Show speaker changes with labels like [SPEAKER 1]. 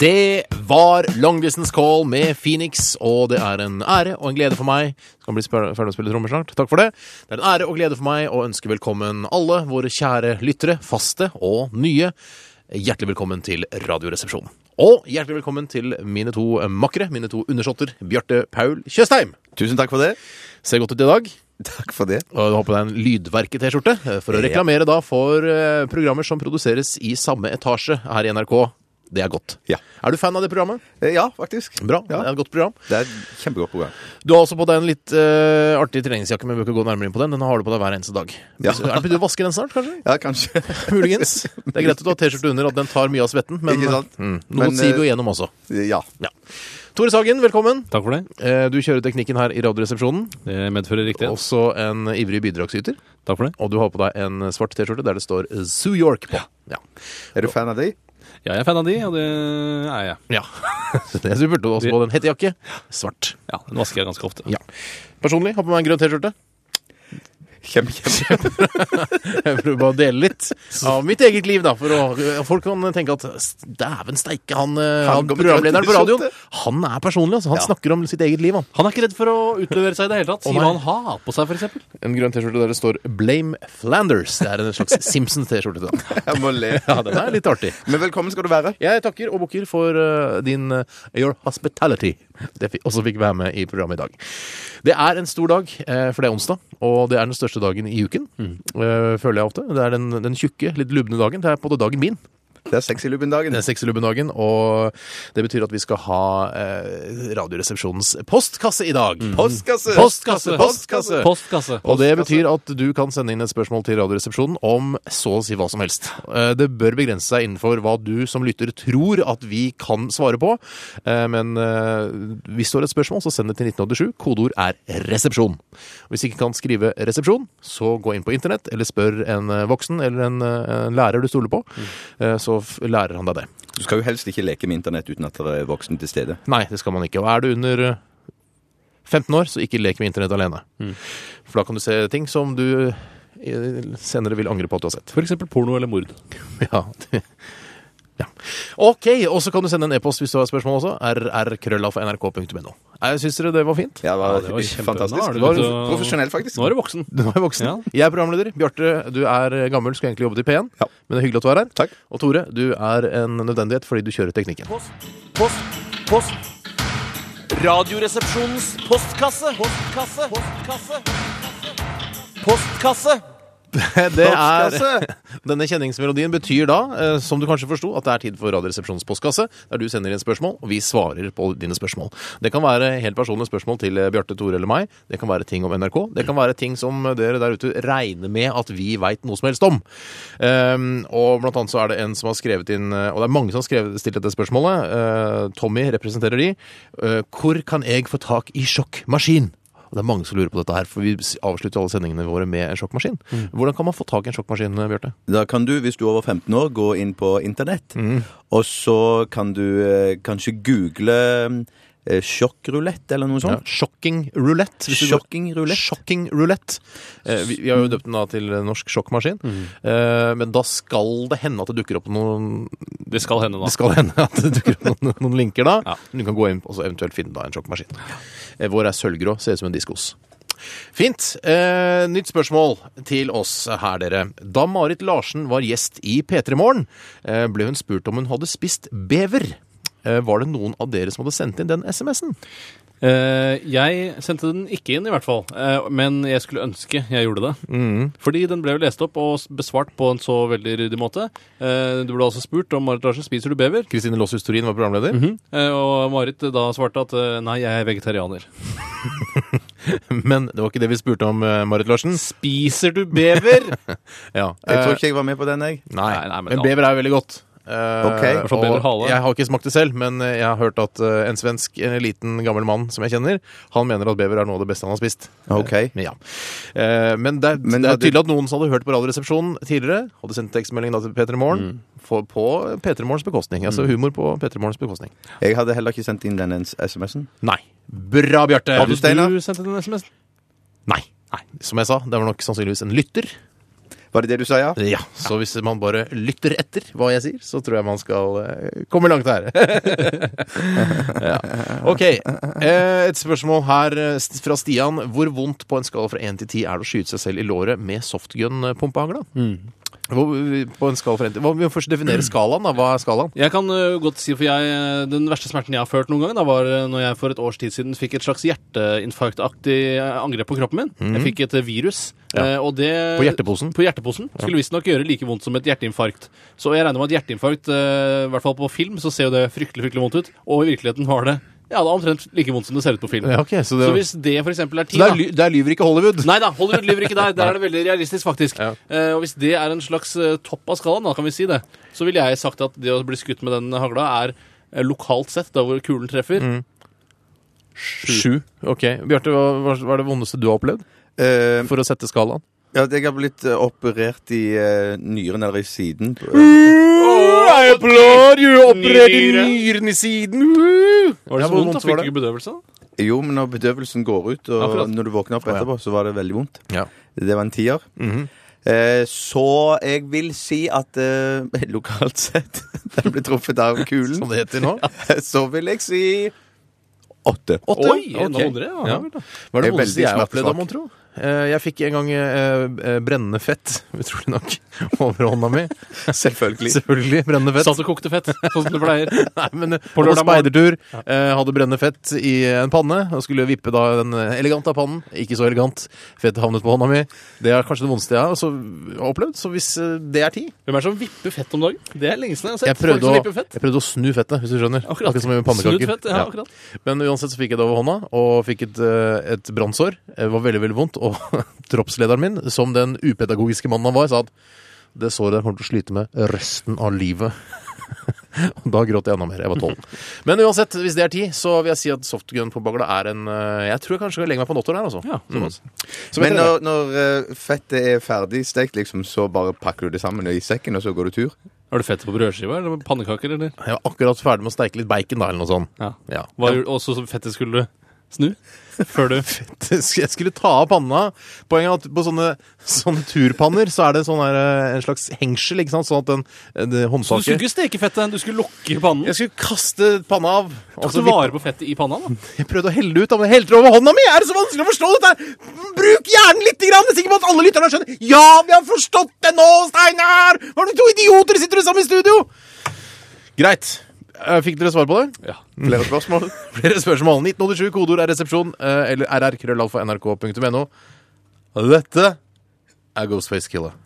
[SPEAKER 1] Det var Long Distance Call med Phoenix, og det er en ære og en glede for meg Skal bli spør- ferdig å spille trommer snart. Takk for det. Det er en ære og glede for meg å ønske velkommen alle våre kjære lyttere, faste og nye. Hjertelig velkommen til Radioresepsjonen. Og hjertelig velkommen til mine to makkere, mine to undersåtter, Bjarte Paul Tjøstheim.
[SPEAKER 2] Tusen takk for det.
[SPEAKER 1] Ser godt ut i dag.
[SPEAKER 2] Takk for det.
[SPEAKER 1] Og du har på deg en Lydverket-T-skjorte eh, for å
[SPEAKER 2] Ja.
[SPEAKER 1] reklamere da for eh, programmer som produseres i samme etasje her i NRK. Det er godt.
[SPEAKER 2] Ja.
[SPEAKER 1] Er du fan av det programmet?
[SPEAKER 2] Eh, Ja, faktisk.
[SPEAKER 1] Bra.
[SPEAKER 2] Ja.
[SPEAKER 1] Det er et godt program.
[SPEAKER 2] Det er et kjempegodt program.
[SPEAKER 1] Du har også på deg en litt eh, artig treningsjakke, men vi bør ikke gå nærmere inn på den. Den har du på deg hver eneste dag.
[SPEAKER 2] Ja.
[SPEAKER 1] Er det på tide å vaske den snart, kanskje?
[SPEAKER 2] Ja, kanskje.
[SPEAKER 1] Muligens. Det er greit at du har T-skjorte under, at den tar mye av svetten, men
[SPEAKER 2] Ikke sant?
[SPEAKER 1] Mm, noe
[SPEAKER 2] Men,
[SPEAKER 1] sier vi jo
[SPEAKER 2] eh,
[SPEAKER 1] gjennom også.
[SPEAKER 2] Ja.
[SPEAKER 1] Tore Sagen, velkommen.
[SPEAKER 3] Takk for det.
[SPEAKER 1] Eh, Du kjører teknikken her i Radioresepsjonen.
[SPEAKER 3] Det medfører riktighet.
[SPEAKER 1] Også en ivrig bidragsyter.
[SPEAKER 3] Takk for det.
[SPEAKER 1] Og du har på deg en svart T-skjorte der det står eh, Zoo York på. Ja.
[SPEAKER 2] Er du fan av de?
[SPEAKER 3] Ja, jeg er fan av de, og det er jeg.
[SPEAKER 1] ja. Det er supert. Du har også på deg en hettejakke. Svart.
[SPEAKER 3] Ja, Den vasker jeg ganske ofte.
[SPEAKER 1] Ja. Personlig har på meg en grønn T-skjorte.
[SPEAKER 2] Kjempe, kjempe.
[SPEAKER 1] Jeg prøver bare å dele litt av mitt eget liv, da. For å, folk kan tenke at dæven steike, han, eh,
[SPEAKER 2] Han
[SPEAKER 1] han
[SPEAKER 2] går med
[SPEAKER 1] programlederen på
[SPEAKER 2] grønn
[SPEAKER 1] radioen,
[SPEAKER 2] t-skjorte.
[SPEAKER 1] han er personlig, altså. Han
[SPEAKER 2] Ja.
[SPEAKER 1] snakker om sitt eget liv, han.
[SPEAKER 3] Han er ikke redd for å utlevere seg i det hele tatt.
[SPEAKER 1] Å,
[SPEAKER 3] Sier
[SPEAKER 1] nei.
[SPEAKER 3] hva han har på seg, f.eks.
[SPEAKER 1] En grønn T-skjorte der det står 'Blame Flanders'. Det er en slags Simpsons-T-skjorte. da.
[SPEAKER 2] Jeg må le.
[SPEAKER 1] Ja, den er litt artig.
[SPEAKER 2] Men velkommen skal du være.
[SPEAKER 1] Jeg takker og bukker for eh, din eh, Your Hospitality. Det fikk, også fikk være med i programmet i dag. Det er en stor dag, eh, for det er onsdag, og det er den største dagen i uken. eh, føler jeg ofte. Det er den, den tjukke, litt lubne dagen. Det er på en måte dagen min.
[SPEAKER 2] Det er sexy lubben-dagen.
[SPEAKER 1] den sexylubben-dagen, eh, og det betyr at vi skal ha eh, Radioresepsjonens postkasse i dag.
[SPEAKER 2] Postkasse!
[SPEAKER 1] Postkasse, postkasse!
[SPEAKER 3] Postkasse.
[SPEAKER 1] Og det betyr at du kan sende inn et spørsmål til Radioresepsjonen om så å si hva som helst. Eh, Det bør begrense seg innenfor hva du som lytter tror at vi kan svare på. Eh, Men eh, hvis du har et spørsmål, så send det til 1987. Kodeord er 'resepsjon'. Hvis ikke kan skrive 'resepsjon', så gå inn på internett, eller spør en eh, voksen eller en, eh, en lærer du stoler på, eh, så f- lærer han deg det.
[SPEAKER 2] Du skal jo helst ikke leke med internett uten at det er voksen til stede.
[SPEAKER 1] Nei, det skal man ikke. Og er du under eh, 15 år, så ikke lek med internett alene.
[SPEAKER 2] Mm.
[SPEAKER 1] For da kan du se ting som du eh, senere vil angre på at du har sett.
[SPEAKER 3] F.eks. porno eller mord.
[SPEAKER 1] Ja. det- ja. Ok, og så kan du sende en e-post hvis du har spørsmål også. rrkrøllalfa.nrk.no. Nei, Syns dere det var fint?
[SPEAKER 2] Ja, det var,
[SPEAKER 3] Ja, det var kjempe- Nå
[SPEAKER 2] fantastisk.
[SPEAKER 3] er
[SPEAKER 2] Det
[SPEAKER 3] du
[SPEAKER 2] var
[SPEAKER 3] ute og-
[SPEAKER 2] profesjonell, faktisk.
[SPEAKER 3] Nå er du voksen.
[SPEAKER 1] Nå er jeg voksen.
[SPEAKER 3] Ja.
[SPEAKER 1] Jeg er programleder. Bjarte, du er eh, gammel, skulle egentlig jobbet i P1.
[SPEAKER 2] Ja.
[SPEAKER 1] Men det er hyggelig at du er her.
[SPEAKER 2] Takk.
[SPEAKER 1] Og Tore, du er en nødvendighet fordi du kjører teknikken.
[SPEAKER 4] Post, post. Radioresepsjonens postkasse. Postkasse. Postkasse. Postkasse.
[SPEAKER 1] Det er
[SPEAKER 2] Postkasse!
[SPEAKER 1] Denne kjenningsmelodien betyr da, eh, som du kanskje forsto, at det er tid for Radioresepsjonens postkasse, der du sender inn spørsmål, og vi svarer på dine spørsmål. Det kan være helt personlige spørsmål til eh, Bjarte, Tore eller meg. Det kan være ting om NRK. Det kan være ting som eh, dere der ute regner med at vi veit noe som helst om. Ehm, og blant annet så er det en som har skrevet inn eh, Og det er mange som har skrevet, stilt dette spørsmålet. eh, Tommy representerer de. Eh, hvor kan jeg få tak i sjokkmaskin? Og det er mange som lurer på dette her, for vi avslutter alle sendingene våre med en sjokkmaskin. Hvordan kan man få tak i en sjokkmaskin, eh, Bjarte?
[SPEAKER 2] Da kan du, hvis du er over 15 år, gå inn på internett, og så kan du eh, kanskje google eh, sjokkrulett eller noe
[SPEAKER 1] Ja.
[SPEAKER 2] sånt.
[SPEAKER 1] Shocking roulette. hvis du går-
[SPEAKER 2] Sjokking rulett.
[SPEAKER 1] Shocking roulette. Eh, vi, vi har jo døpt den da til Norsk sjokkmaskin. Eh, men da skal det hende at det dukker opp noen
[SPEAKER 3] Det skal hende,
[SPEAKER 1] Det
[SPEAKER 3] da.
[SPEAKER 1] skal hende at det dukker opp noen, noen linker da.
[SPEAKER 3] Ja.
[SPEAKER 1] Men du kan gå inn og så eventuelt finne da en sjokkmaskin. Eh, vår er sølvgrå, ser ut som en diskos. Fint. Eh, nytt spørsmål til oss her, dere. Da Marit Larsen var gjest i P3 Morgen, eh, ble hun spurt om hun hadde spist bever. Eh, var det noen av dere som hadde sendt inn den SMS-en?
[SPEAKER 3] Eh, jeg sendte den ikke inn, i hvert fall. Eh, men jeg skulle ønske jeg gjorde det. Fordi den ble jo lest opp og s- besvart på en så veldig ryddig måte. Eh, du ble altså spurt om Marit Larsen spiser du bever.
[SPEAKER 1] Kristine Lossius Turin var programleder.
[SPEAKER 2] Mhm.
[SPEAKER 3] Eh, og Marit eh, da svarte at eh, nei, jeg er vegetarianer.
[SPEAKER 1] Men det var ikke det vi spurte om, eh, Marit Larsen.
[SPEAKER 3] Spiser du bever?
[SPEAKER 1] Ja.
[SPEAKER 2] Jeg tror
[SPEAKER 1] Eh,
[SPEAKER 2] ikke jeg var med på den, jeg.
[SPEAKER 1] Nei,
[SPEAKER 3] Nei, nei,
[SPEAKER 1] men,
[SPEAKER 3] men da-
[SPEAKER 1] bever er jo veldig godt. Eh,
[SPEAKER 2] Ok. I hvert
[SPEAKER 3] fall bever hale.
[SPEAKER 1] og jeg har ikke smakt det selv, men eh, jeg har hørt at eh, en svensk en liten, gammel mann som jeg kjenner, han mener at bever er noe av det beste han har spist.
[SPEAKER 2] Ok.
[SPEAKER 1] Men ja. Eh, Men det er,
[SPEAKER 2] Men
[SPEAKER 1] det er
[SPEAKER 2] hadde-
[SPEAKER 1] tydelig at noen som hadde hørt på Radioresepsjonen tidligere, hadde sendt tekstmelding da til P3 Morgen for- på P3 Morgens bekostning. Altså humor på P3 Morgens bekostning.
[SPEAKER 2] Jeg hadde heller ikke sendt inn den SMS-en.
[SPEAKER 1] Nei. Bra,
[SPEAKER 3] Eh,
[SPEAKER 1] Bjarte!
[SPEAKER 2] Hadde du- Steinar?
[SPEAKER 3] Du sendte den SMS-en.
[SPEAKER 1] Nei. Som jeg sa, det var nok sannsynligvis en lytter.
[SPEAKER 2] Var det det du sa, ja?
[SPEAKER 1] Ja, så hvis man bare lytter etter hva jeg sier, så tror jeg man skal eh, komme langt her. ja. Ok, eh, et spørsmål her eh, st- fra Stian. Hvor vondt på en skala fra 1 til 10 er det å skyte seg selv i låret med eh, softgun-pumpehagla? Hvor, eh, på en skala fra 1 til, hva, vi må først definere skalaen, da. Hva er skalaen?
[SPEAKER 3] Jeg kan ø, godt si, for jeg, ø, Den verste smerten jeg har følt noen gang, da var ø, når jeg for et års tid siden fikk et slags hjerteinfarktaktig ø, angrep på kroppen min. Jeg fikk et ø, virus. ø, Og det,
[SPEAKER 1] Mhm. På hjerteposen?
[SPEAKER 3] På hjerteposen. Skulle visstnok gjøre like vondt som et hjerteinfarkt. Så jeg regner med at hjerteinfarkt, ø, i hvert fall på film, så ser jo det fryktelig fryktelig vondt ut. Og i virkeligheten var det ja, det er omtrent like vondt som det ser ut på film.
[SPEAKER 1] Ja, ok, så det-
[SPEAKER 3] så hvis det for eksempel er ti,
[SPEAKER 1] Så der,
[SPEAKER 3] da
[SPEAKER 1] ly- der lyver ikke Hollywood.
[SPEAKER 3] Nei da, Hollywood lyver ikke der. Der er det veldig realistisk, faktisk.
[SPEAKER 1] Ja.
[SPEAKER 3] Eh, og hvis det er en slags eh, topp av skalaen, da kan vi si det, så ville jeg sagt at det å bli skutt med den hagla er eh, lokalt sett, da hvor kulen treffer.
[SPEAKER 1] Sju. Ok. Bjarte, hva, hva hva er det vondeste du har opplevd?
[SPEAKER 2] Eh,
[SPEAKER 1] For å sette skalaen?
[SPEAKER 2] ja jeg har blitt eh, operert i eh, nyren eller i siden.
[SPEAKER 1] Mm. I applaud you!
[SPEAKER 3] Opererte
[SPEAKER 1] nyren i siden!
[SPEAKER 3] Var det så vondt? Fikk du ikke bedøvelse? da?
[SPEAKER 2] Jo, men når bedøvelsen går ut, og
[SPEAKER 3] Akkurat.
[SPEAKER 2] når du våkner opp
[SPEAKER 1] Å, ja.
[SPEAKER 2] etterpå, så var det veldig vondt.
[SPEAKER 1] Ja.
[SPEAKER 2] Det var en tier.
[SPEAKER 1] Mhm.
[SPEAKER 2] Eh, så jeg vil si at eh, lokalt sett Den ble truffet av kulen.
[SPEAKER 1] Som det heter nå.
[SPEAKER 2] Så vil jeg si åtte.
[SPEAKER 3] Oi!
[SPEAKER 1] ok.
[SPEAKER 3] Enda vondere, ja.
[SPEAKER 1] Ja.
[SPEAKER 3] vel da.
[SPEAKER 1] Hva er det
[SPEAKER 2] Jeg er
[SPEAKER 1] vondeste jeg
[SPEAKER 2] veldig
[SPEAKER 1] har opplevd, da,
[SPEAKER 2] smertesvak.
[SPEAKER 1] mon tro? Eh, Jeg fikk en gang eh, eh, brennende fett, utrolig nok, over hånda mi.
[SPEAKER 2] Selvfølgelig.
[SPEAKER 1] Selvfølgelig brennende fett.
[SPEAKER 3] Satt og kokte fett, sånn som det pleier.
[SPEAKER 1] Nei, men eh,
[SPEAKER 3] På
[SPEAKER 1] på
[SPEAKER 3] lørdag morgen.
[SPEAKER 1] speidertur. eh, Hadde brennende fett i en panne. Og skulle vippe da den eh, elegant av pannen. Ikke så elegant. Fettet havnet på hånda mi. Det er kanskje det vondeste jeg har også har opplevd. Så hvis eh, det er ti
[SPEAKER 3] Hvem er det som vipper fett om dagen? Det er lenge siden jeg har sett.
[SPEAKER 1] jeg prøvde,
[SPEAKER 3] Folk som
[SPEAKER 1] å,
[SPEAKER 3] vipper fett.
[SPEAKER 1] jeg prøvde å snu fettet, hvis du skjønner.
[SPEAKER 3] Akkurat.
[SPEAKER 1] Akkurat som med pannekaker.
[SPEAKER 3] Snudd fett, ja, akkurat.
[SPEAKER 1] Men uansett så fikk jeg det over hånda, og fikk et, eh, et brannsår. Det var veldig, veldig vondt. Og troppslederen min, som den upedagogiske mannen han var, sa at det såret der kommer til å slite med resten av livet. Og da gråt jeg enda mer. Jeg var tolv. Men uansett, hvis det er ti, så vil jeg si at softgun på bagla er en eh, Jeg tror jeg kanskje skal legge meg på en åtter der, altså.
[SPEAKER 3] Ja, såpass.
[SPEAKER 1] Så
[SPEAKER 2] Men
[SPEAKER 1] vet dere-
[SPEAKER 2] når, når eh, fettet er ferdig stekt, liksom, så bare pakker du det sammen i sekken, og så går du tur?
[SPEAKER 3] Har du fett på brødskiva eller pannekaker, eller?
[SPEAKER 1] jeg var akkurat ferdig med å steike litt bacon, da, eller noe sånt.
[SPEAKER 3] Ja.
[SPEAKER 1] Ja.
[SPEAKER 3] Hva gjorde også som fettet skulle snu? Før du
[SPEAKER 1] jeg skulle ta av panna. Poenget er at på sånne, sånne turpanner så er det sånn her, eh, en slags hengsel, ikke sant? sånn at den, det
[SPEAKER 3] Så du skulle
[SPEAKER 1] håndtaket
[SPEAKER 3] ikke steke fettet, du skulle lukke pannen.
[SPEAKER 1] Jeg skulle kaste panna av. Og
[SPEAKER 3] Tok
[SPEAKER 1] så
[SPEAKER 3] du vare på fettet i panna, da?
[SPEAKER 1] vipp- jeg prøvde å helle det ut, da, men jeg helte det over hånda mi! Er det så vanskelig å forstå dette? her? Bruk hjernen litt! Grann. Jeg er sikker på at alle lytterne skjønner. Ja, vi har forstått det nå, Steinar! Hva er det to idioter sitter du sammen i studio? Greit. Eh, Fikk dere svar på det?
[SPEAKER 3] Ja.
[SPEAKER 1] Mm.
[SPEAKER 2] Flere spørsmål?
[SPEAKER 1] Flere spørsmål. 1987, kodeord er resepsjon, eh, eller rrkrøllalfa.nrk.no. Dette er Ghostface Killer.